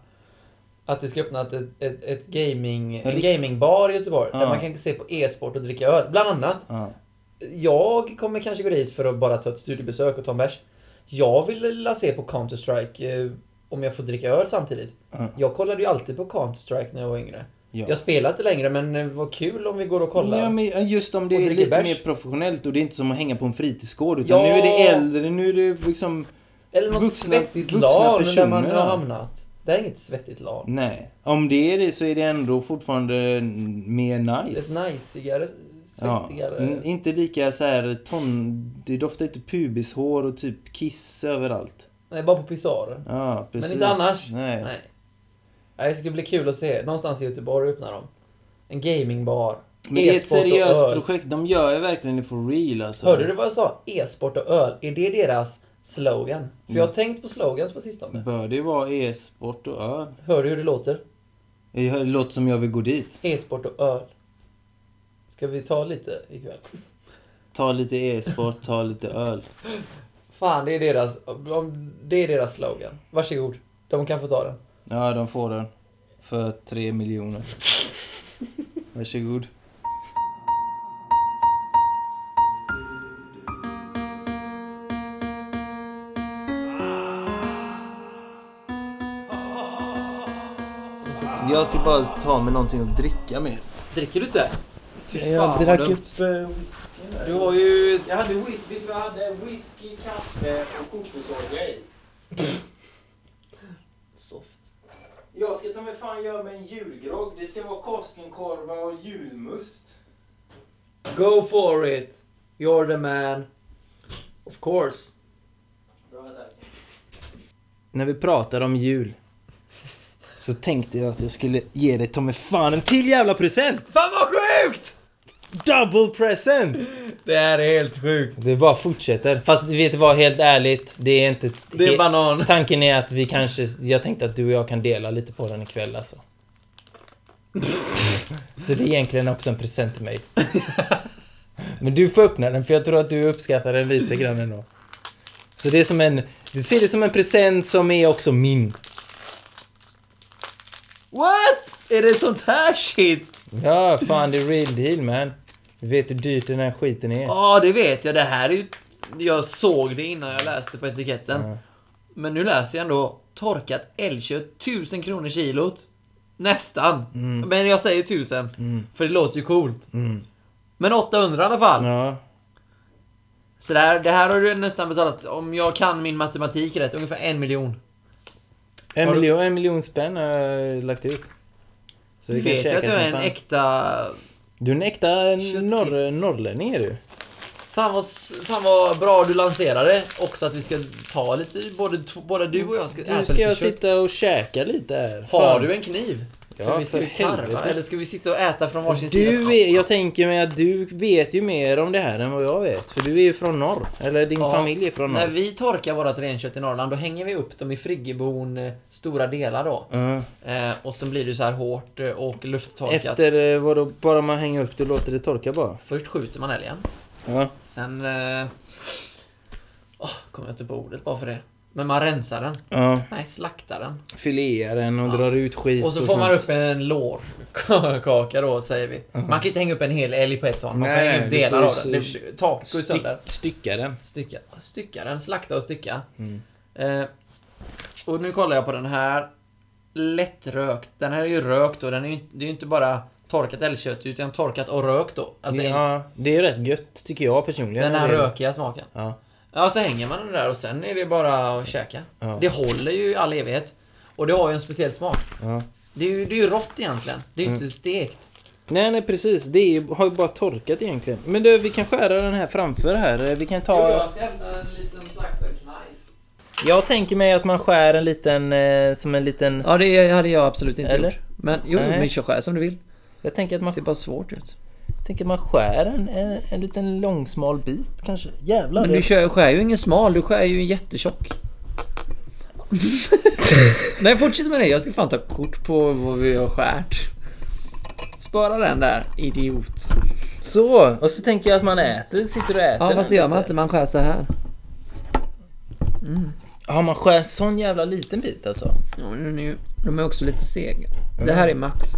Att det ska öppna ett, ett, ett, ett gaming, en Rikt- gamingbar i Göteborg. Där Ja. man kan se på e-sport och dricka öl. Bland annat. Ja. Jag kommer kanske gå dit för att bara ta ett studiebesök och ta en bärs. Jag vill la se på Counter-Strike eh, om jag får dricka öl samtidigt. Ja. Jag kollade ju alltid på Counter-Strike när jag var yngre. Ja. Jag spelar inte längre men eh, vad kul om vi går och kollar. Ja, men just om det Och är dricker lite bärs. mer professionellt och det är inte som att hänga på en fritidsgård. Utan Ja. nu är det äldre, nu är det liksom... Eller något vuxna- svettigt vuxna LAN där man personer, har ja. hamnat. Det här är inget svettigt LAN. Nej. Om det är det så är det ändå fortfarande mer Det är nice. Ett najsigare, svettigare... Ja. Mm, Inte lika så här ton... Det doftar inte pubishår och typ kiss överallt. Nej, bara på pisaren. Ja, precis. Men inte annars. Nej. Nej. Nej, det ska bli kul att se. Någonstans i Göteborg öppnar de. En gamingbar. Men det är ett E-sport och seriöst öl. projekt. De gör ju verkligen det for real alltså. Hörde du vad jag sa? E-sport och öl. Är det deras slogan? För jag Mm. har tänkt på slogans på sistone. Bör det vara e-sport och öl? Hör du hur det låter? Det låter som jag vill gå dit. E-sport och öl. Ska vi ta lite ikväll? Ta lite e-sport, ta lite öl. Fan, det är deras, om- det är deras slogan. Varsågod. De kan få ta den. Ja, de får den. För tre miljoner. Varsågod. Jag ska bara ta med någonting att dricka med. Dricker du inte? Fy fan, vad dumt. whisky. Du har ju... Jag hade whisky, jag hade whisky, kaffe och kokosolja i. Soft. Jag ska ta mig fan göra mig en julgrogg. Det ska vara Koskenkorva och julmust. Go for it! You're the man. Of course. När vi pratar om jul så tänkte jag att jag skulle ge dig ta mig fan en till jävla present! Fan vad sjukt! Double present! Det här är helt sjukt. Det bara fortsätter. Fast vet du vad, helt ärligt, det är inte... Det är banan. Tanken är att vi kanske... Jag tänkte att du och jag kan dela lite på den ikväll alltså. Så det är egentligen också en present till mig. Men du får öppna den för jag tror att du uppskattar den lite grann ändå. Så det är som en... Du ser det som en present som är också min. What? Är det sånt här shit? Ja, fan det är real deal man. Du vet hur dyrt den här skiten är. Ja, det vet jag. Det här är ju... Jag såg det innan jag läste på etiketten. Ja. Men nu läser jag ändå torkat älgkött, 1000 kronor kilot. Nästan. Men jag säger 1000. För det låter ju coolt. Mm. Men 800 i alla fall. Ja. Så det här, det här har du nästan betalat, om jag kan min matematik rätt, ungefär en miljon. En, Har du- miljon, en miljon spänn har jag lagt ut. Så Du vi kan vet ju käka att jag som är en fan. äkta... Du är en äkta Köttkill. norr, norrlänning är du. Fan vad, s- fan vad bra du lanserade. Också att vi ska ta lite, både, t- både du och jag ska äta Nu ska lite jag kött. sitta och käka lite här. Har Fan. du en kniv? Ja, för vi ska för ju karva, helvete. eller ska vi sitta och äta från varsin sida? Du är, jag tänker mig att du vet ju mer om det här än vad jag vet. För du är ju från norr. Eller din Ja. familj är från När norr. vi torkar vårat renkött i Norrland, då hänger vi upp dem i friggebon eh, stora delar då. Ja. Eh, och sen blir det så här hårt eh, och lufttorkat. Efter eh, vadå, bara man hänger upp det och låter det torka bara. Först skjuter man älgen. Ja. Sen... Eh, åh, kommer jag inte på ordet bara för det. Men man rensar den. ja. Nej, slaktar den. Filear den och drar ut skit Och så får man sånt. upp en lårkaka då, säger vi. Man kan ju inte hänga upp en hel älg på ett torn. Man får Nej, hänga upp du delar får av den. ju Det- Taket går ju Styck- sönder. Stycka den. Stycka, stycka den. Slakta och stycka. Mm. Eh, och nu kollar jag på den här. Lättrökt. Den här är ju rökt och den är ju, det är ju inte bara torkat älgkött utan torkat och rökt då. Alltså en- ja, det är ju rätt gött tycker jag personligen. den här Det- rökiga smaken. Ja. Ja, så hänger man den där och sen är det bara att käka. Ja. Det håller ju i all evighet. Och det har ju en speciell smak. ja. Det är ju, det är ju rått egentligen. Det är ju Mm. inte stekt. Nej, nej precis. Det är, ju- har ju bara torkat egentligen. Men du, vi kan skära den här framför här. Eh, Vi kan ta... ska hämta en liten saxelknife. Jag tänker mig att man skär en liten, eh, som en liten... Ja, det hade jag absolut inte Eller? gjort. Men jo, Nej. men kör skär som du vill. Jag tänker att Det man, ser bara svårt ut. tänker att man skär en, en, en liten långsmal bit kanske. Jävlar! Men det- du kör, skär ju ingen smal, du skär ju en jättetjock. Nej, fortsätt med det. Jag ska fan ta kort på vad vi har skärt. Spara den där, idiot. Så! Och så tänker jag att man äter, sitter och äter. Ja, den fast det gör man lite. inte. Man skär så här. Ja, man skär en sån jävla liten bit alltså. Ja, men den är ju, de är också lite sega. Det här är max.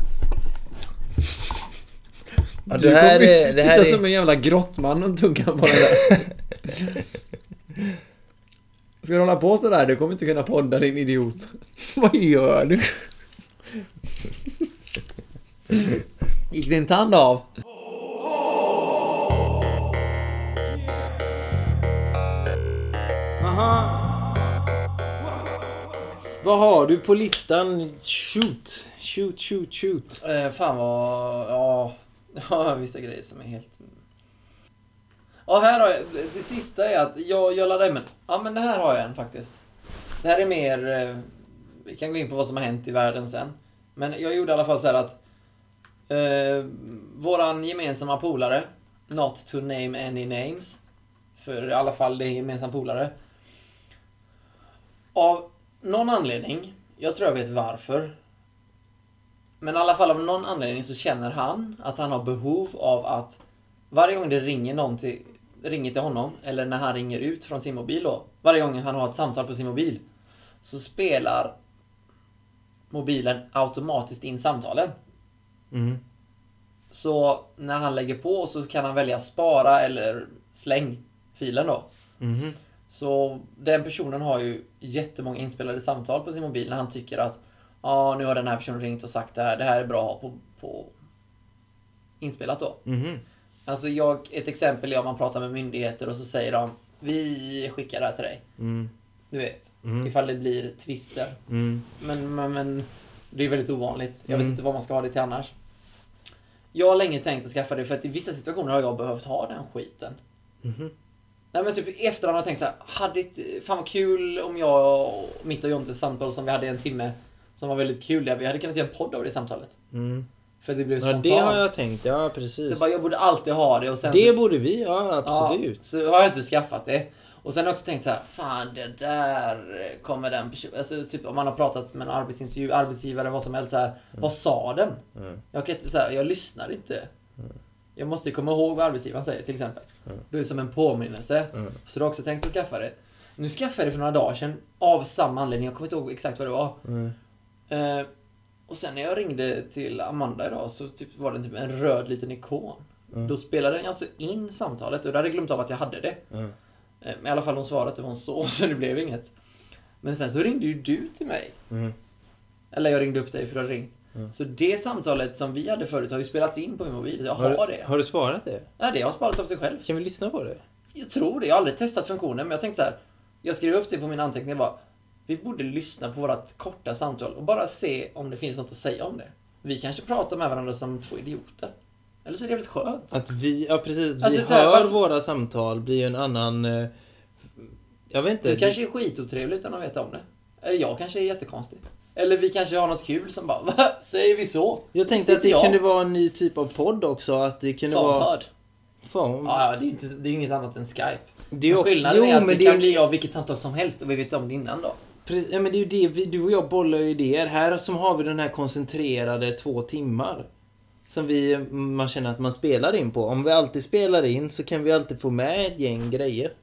Ja, Du det här kommer ju är... Det här sitta är... som en jävla grottman och tugga på den där. Ska du hålla på sådär? Du kommer inte kunna podda din idiot. Vad gör du? Gick din tand av? Vad har du på listan? Shoot, shoot, shoot, shoot. Eh, fan vad... Ja, ja, vissa grejer som är helt... Ja, här har jag... Det sista är att jag, jag laddar hem en... Ja, men det här har jag en faktiskt. Det här är mer... Eh, vi kan gå in på vad som har hänt i världen sen. Men jag gjorde i alla fall så här att... Eh, våran gemensamma polare, not to name any names, för i alla fall det är en gemensam polare. Av någon anledning, jag tror jag vet varför, men i alla fall av någon anledning så känner han att han har behov av att varje gång det ringer någon till, ringer till honom, eller när han ringer ut från sin mobil då, varje gång han har ett samtal på sin mobil, så spelar mobilen automatiskt in samtalen. Mm. Så när han lägger på så kan han välja spara eller släng filen då. Mhm. Så den personen har ju jättemånga inspelade samtal på sin mobil när han tycker att ja, nu har den här personen ringt och sagt det här, det här är bra att ha på, på inspelat då. Mhm. Alltså jag, ett exempel är om man pratar med myndigheter och så säger de vi skickar det här till dig. Mm. Du vet, Mm. ifall det blir twister. Mm. Men, men, men det är väldigt ovanligt. Jag Mm. vet inte vad man ska ha det till annars. Jag har länge tänkt att skaffa det för att i vissa situationer har jag behövt ha den skiten. Mhm. Nej men typ i efterhand har jag tänkt såhär, hade inte, fan vad kul om jag och mitt och Jontes samtal som vi hade i en timme som var väldigt kul, där vi hade kunnat göra en podd av det samtalet. Mm. För det blev Ja, spontant. det har jag tänkt. Ja, Så jag precis. bara, jag borde alltid ha det och sen så, Det borde vi. Ja, Ja, absolut. så har jag inte skaffat det. Och sen har jag också tänkt så här, fan det där kommer den personen, alltså typ om man har pratat med en arbetsintervju, arbetsgivare, vad som helst så här, vad sa den? Mm. Jag kan inte säga, jag lyssnar inte. Jag måste komma ihåg vad arbetsgivaren säger till exempel. Det är som en påminnelse. Mm. Så du har också tänkt att skaffa det. Nu skaffade jag det för några dagar sedan av samma anledning, jag kommer inte ihåg exakt vad det var. Mm. Eh, och sen när jag ringde till Amanda idag så typ var det typ en röd liten ikon. Mm. Då spelade den alltså in samtalet och då hade jag glömt av att jag hade det. Mm. Eh, Men i alla fall hon svarade att det var hon så, så det blev inget. Men sen så ringde ju du till mig. Mm. Eller jag ringde upp dig för du hade ringt. Mm. Så det samtalet som vi hade förut har ju spelats in på min mobil. Jag har, Har, du, det. har du sparat det? Nej, det har sparats av sig själv. Kan vi lyssna på det? Jag tror det. Jag har aldrig testat funktionen, men jag tänkte så här. Jag skrev upp det på mina anteckningar bara. Vi borde lyssna på vårat korta samtal och bara se om det finns något att säga om det. Vi kanske pratar med varandra som två idioter. Eller så är det väldigt skönt. Att vi, ja precis, att Alltså, vi så här, hör varför- våra samtal blir ju en annan... eh, Jag vet inte. Du kanske är skitotrevlig utan att veta om det. Eller jag kanske är jättekonstig. Eller vi kanske har något kul som bara Va? Säger vi så? Jag Visste tänkte att inte det kunde vara en ny typ av podd också. Att det kunde vara... Fanhörd. Fan. Ja, ja, det är ju inte- det är ju inget annat än Skype. Det är ju Men också... skillnaden Jo, är att men det, det kan är ju... bli av vilket samtal som helst och vi vet om det innan då. Precis, ja, men det är ju det. Vi, du och jag bollar ju idéer. Här som har vi den här koncentrerade två timmar. Som vi, man känner att man spelar in på. Om vi alltid spelar in så kan vi alltid få med ett gäng grejer.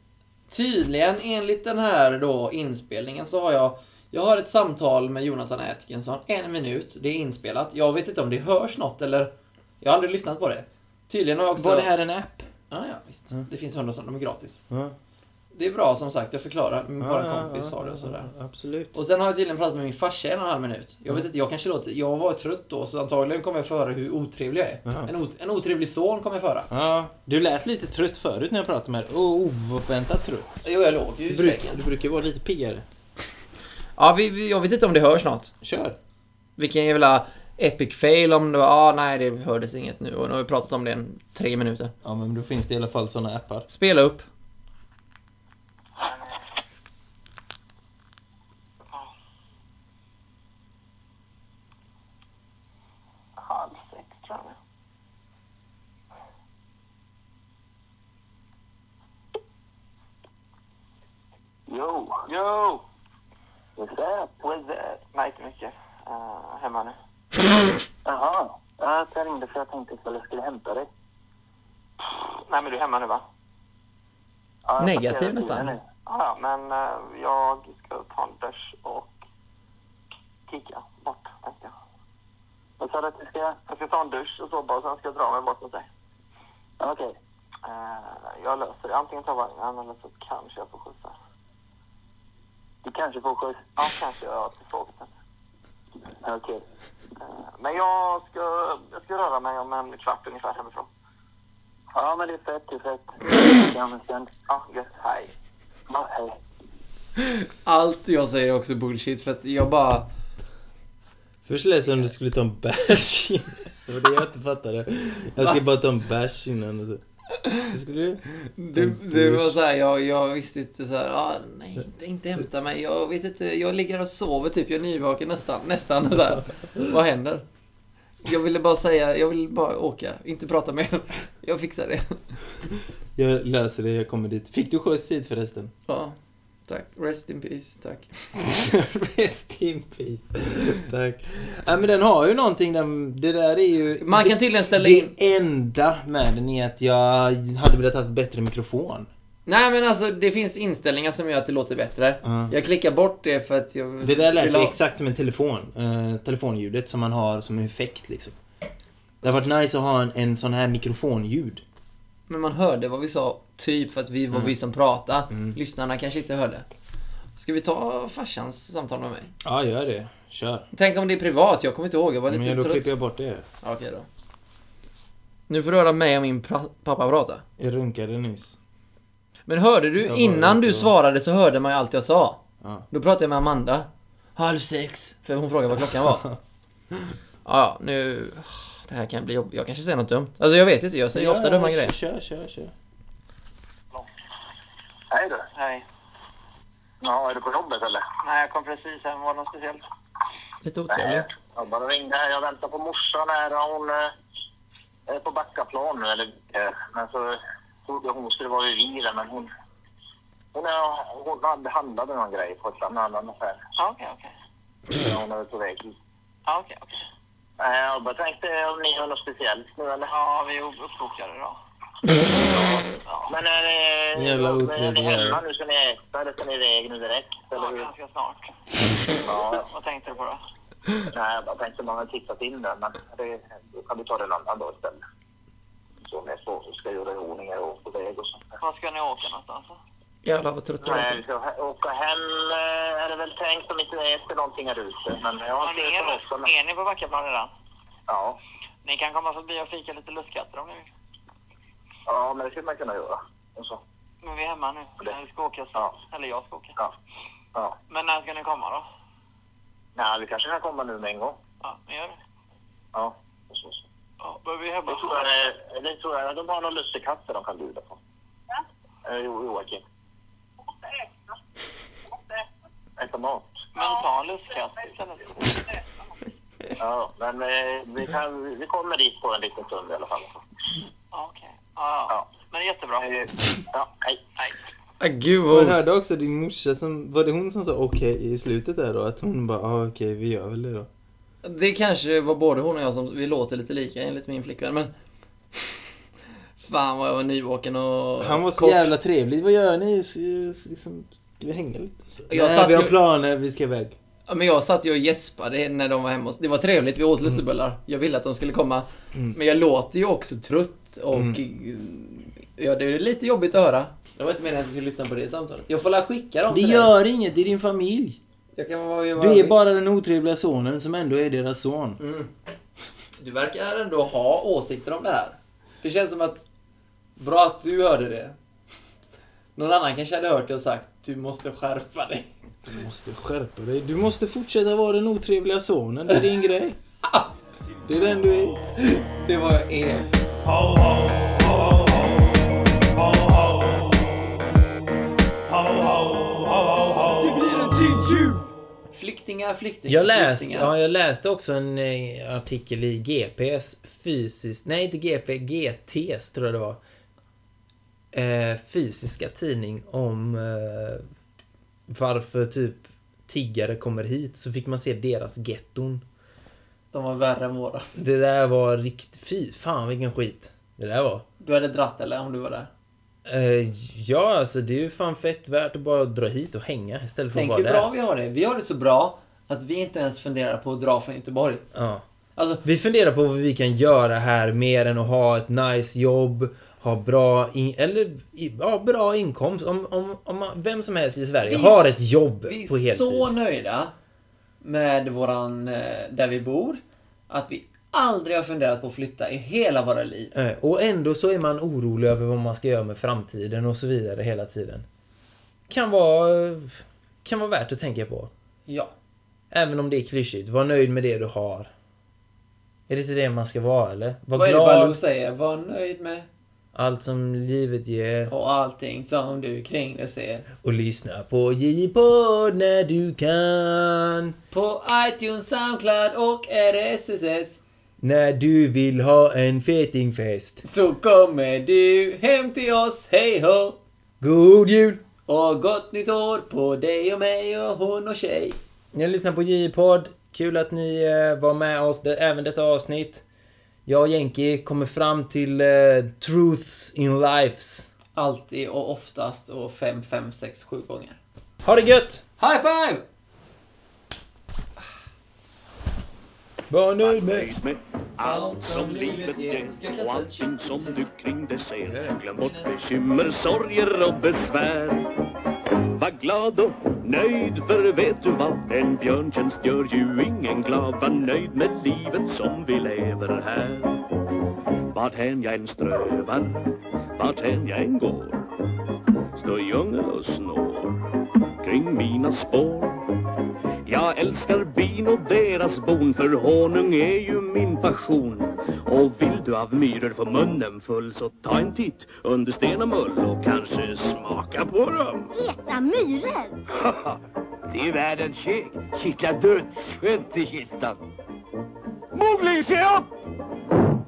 Tydligen, enligt den här då inspelningen så har jag jag har ett samtal med Jonathan Atkinson, en minut, det är inspelat. Jag vet inte om det hörs något eller... Jag har aldrig lyssnat på det. Tydligen har jag också... Var det här Mm. en app? Ah, ja, visst. Det finns hundra som de är gratis. Ja. Det är bra som sagt, jag förklarar. Min bara Ja, ja, kompis ja, har det och sådär. ja, Absolut. Och sen har jag tydligen pratat med min farsa i en och en halv minut. Jag Mm. vet inte, jag kanske låter... Jag var trött då, så antagligen kommer jag få höra hur otrevlig jag är. Ja. En, ot- en otrevlig son kommer jag få höra. Ja, du lät lite trött förut när jag pratade med dig. Oh, oväntat trött. Jo, jag låg ju Du, i bruk, sängen. du brukar vara lite piggare. Ja, vi, vi, jag vet inte om det hörs något. Kör. Vilken jävla epic fail om det var... Ah, nej, det hördes inget nu. Och nu har vi pratat om det i tre minuter. Ja, men då finns det i alla fall såna appar. Spela upp. halv sex tror jag. Yo! Yo! What's up? What's up? Nej, inte eh, mycket. Uh, hemma nu. Jaha. Ja, jag ringde för jag tänkte att jag skulle hämta dig. Nej, men du är hemma nu va? Ja, jag Negativ parkerar bilen nästan. nu. Ja, men eh, jag ska ta en bärs och kicka bort, tänkte jag. Jag sa att vi ska... Jag ska ta en dusch och så bara, och sen ska jag dra mig bort mot dig. Okej. jag löser det. Antingen tar vagnen eller så kanske jag får skjuts här. Du kanske får skjuts? Ja, kanske. Jag har ett frågetecken. Okej. Eh, Men jag ska, jag ska röra mig om en kvart ungefär hemifrån. Ja, men det är fett, det är fett. Ja, men sen. Ja, gött. Hej. Ja, hej. Allt jag säger är också bullshit för att jag bara... Först lät det som du skulle ta en bärs. Det var det jag inte fattade. Jag ska bara ta en bärs innan och så. Det skulle du? Det, det var såhär, jag, jag visste inte såhär, ah, nej inte, inte hämta mig, jag vet inte, jag ligger och sover typ, jag är nyvaken nästan, nästan så här. Vad händer? Jag ville bara säga, jag vill bara åka, inte prata mer. Jag fixar det. Jag löser det, jag kommer dit. Fick du skjuts hit förresten? Ja, tack. Rest in peace, tack. Rest in peace. Tack. Ja, men den har ju någonting, den, det där är ju... Man kan tydligen ställa det in... enda med den är att jag hade velat ha bättre mikrofon. Nej men alltså, det finns inställningar som gör att det låter bättre. Ja. Jag klickar bort det för att jag... Det där lät vill ju ha- exakt som en telefon. Eh, telefonljudet som man har som en effekt liksom. Det hade varit nice att ha en, en sån här mikrofonljud. Men man hörde vad vi sa, typ för att vi var vi som pratade. Mm. Lyssnarna kanske inte hörde. Ska vi ta farsans samtal med mig? Ja, gör det. Kör. Tänk om det är privat, jag kommer inte ihåg. Jag var Men lite då trött. klipper jag bort det. Ja, Okej då. Nu får du höra mig och min pra- pappa prata. Jag runkade nyss. Men hörde du, var innan ute du och- svarade så hörde man ju allt jag sa. Ja. Då pratade jag med Amanda. Halv sex. För hon frågade vad klockan var. Ja, Ja, nu... Det här kan bli jobbigt. Jag kanske säger något dumt. Alltså jag vet inte, jag säger ofta dumma grejer. Kör, kör, kör. Hej du. Hej. Ja, är du på jobbet eller? Nej, jag kom precis hem. Var det något speciellt? Lite otrevlig. Jag bara ringde här. Jag väntar på morsan här. Hon eh, är på Backaplan nu. Eller, eh, men så trodde hon skulle vara i bilen, men hon... Hon, är, hon hade handlade någon grej på en annan affär. Ja, okej, okej. Så Hon är på väg hit. Ja, okej, okej. Eh, Jag bara tänkte om ni har något speciellt nu eller? Ja, vi är uppbokade idag. Men är ni, Jävla är ni otrevlig hemma jävel. nu? Ska ni äta eller ska ni iväg nu direkt? Eller Ja, hur? ganska snart. Ja. Vad tänkte du på då? Nej, jag bara tänkte om man hade tittat in där, men det, då kan vi ta det en annan dag istället. Så om jag så, så ska jag göra i ordning här och på väg och sånt. där. Var ska ni åka någonstans? då? Jävlar vad trött jag Nej, vi är. ska he- åka hem eh, är det väl tänkt om inte det äter någonting här ute. Men jag har Men inte hört något är, men- är ni på Backaplan redan? Ja. Ni kan komma förbi och fika lite lustkatter om ni vill. ja, men det skulle man kunna göra. Och så. Men vi är hemma nu. Det- Vi ska åka Ja. snart. Eller jag ska åka. Ja. ja. Men när ska ni komma då? Nej, vi kanske kan komma nu med en gång. Ja, men gör det. Ja. Och så, så. Ja, men vi är hemma. Det tror jag, eh, det tror jag de har någon lussekatter de kan bjuda på. Ja. Jo, Joakim. Äta mat. Men ta en lustkatt istället. Ja, men eh, vi, kan, vi kommer dit på en liten stund i alla fall. Ja, okej. Ja, ja. Ja. Men det är jättebra. Eh, Ja, hej. Nej. Ah, Gud Man vad... hörde också din morsa som, var det hon som sa okej i slutet där då? Att hon bara, ah, okej vi gör väl det då. Det kanske var både hon och jag som, vi låter lite lika enligt min flickvän men... Fan vad jag var nyvaken och Han var så kort. jävla trevlig, vad gör ni? S- Liksom, ska vi hänga lite? Så. Jag Nej, satt vi har ju- planer, vi ska iväg. Ja, men jag satt ju och gäspade när de var hemma hos- Det var trevligt, vi åt Mm. lussebullar. Jag ville att de skulle komma. Men jag låter ju också trött och... Mm. Ja, det är lite jobbigt att höra. Det var inte meningen att jag skulle lyssna på det samtalet. Jag får la skicka dem Det till dig. gör inget, det är din familj. Jag kan vara, jag Du är bara den otrevliga sonen som ändå är deras son. Mm. Du verkar ändå ha åsikter om det här. Det känns som att... Bra att du hörde det. Någon annan kanske hade hört det och sagt du måste skärpa dig. Du måste skärpa dig, du måste fortsätta vara den otrevliga sonen, det är din grej. Det är den du är. Det var E. jag är. Det blir en tid jul! Flyktingar, flyktingar, Jag läste, flyktingar. ja, jag läste också en eh, artikel i GPs fysiskt, nej inte GP, GTs tror jag det var. Eh, fysiska tidning om eh, varför typ tiggare kommer hit. Så fick man se deras getton. De var värre än våra. Det där var riktigt, fy fan vilken skit. Det där var. Du hade dratt eller om du var där? Eh, ja, alltså det är ju fan fett värt att bara dra hit och hänga istället för Tänk att hur vara bra där. vi har det. Vi har det så bra att vi inte ens funderar på att dra från Göteborg. Ja. Alltså, Vi funderar på vad vi kan göra här mer än att ha ett nice jobb, ha bra, in- eller, i- ja, bra inkomst. Om, om, om man, vem som helst i Sverige vi har är ett jobb vi är på heltid. så nöjda med våran, eh, där vi bor. att vi aldrig har funderat på att flytta i hela våra liv. Eh, Och ändå så är man orolig över vad man ska göra med framtiden och så vidare hela tiden. Kan vara, kan vara värt att tänka på. Ja. Även om det är klyschigt. Var nöjd med det du har. Är det inte det man ska vara eller? Var Vad är det glad Baloo säger? Var nöjd med allt som livet ger. och allting som du kring dig ser. Och lyssna på J-podd när du kan. På iTunes, Soundcloud och RSSS När du vill ha en fetingfest. så kommer du hem till oss, hej ho! God jul! Och gott nytt år på dig och mig och hon och tjej. Ni lyssnar på J-podd. Kul att ni eh, var med oss det, även detta avsnitt. Jag och Jenki kommer fram till eh, Truths in Lives. Alltid och oftast och fem, fem, sex, sju gånger. Ha det gött! High five! Var nöjd med... nöjd med allt som livet ger och allting som du kring det ser. Glöm bort bekymmer, sorger och besvär. Var glad och nöjd, för vet du vad? En björntjänst gör ju ingen glad. Var nöjd med livet som vi lever här. Varthän jag än strövar, varthän jag än går, står djungel och snår kring mina spår. Jag älskar bin och deras bon för honung är ju min passion. Och vill du av myror få munnen full så ta en titt under sten och mull och kanske smaka på dem. Äta myror? Haha, det är världens kik. Kika dödsskönt i kistan. Mowgli, se upp!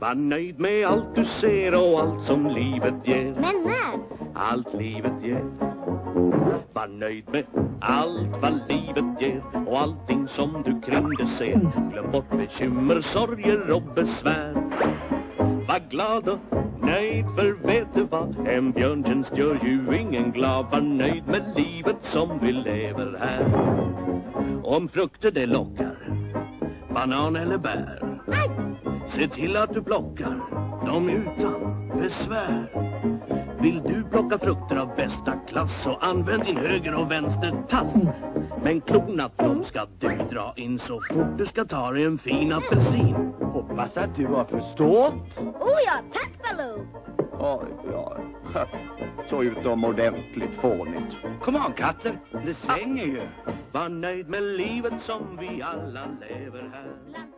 Var nöjd med allt du ser och allt som livet ger Men när? allt livet ger. Var nöjd med allt vad livet ger och allting som du kring det ser. Glöm bort bekymmer, sorger och besvär. Var glad och nöjd för vet du vad? En björntjänst gör ju ingen glad. Var nöjd med livet som vi lever här. Om frukter det lockar, banan eller bär. Aj! Se till att du plockar dem utan besvär. Vill du plocka frukter av bästa klass så använd din höger och vänster tass. Men klorna på dem ska du dra in så fort du ska ta dig en fin apelsin. Hoppas att du har förstått. Oh ja, tack Baloo! Oj, ja. Så utomordentligt fånigt. Kom on, katter. Det svänger ju. Var nöjd med livet som vi alla lever här. Bland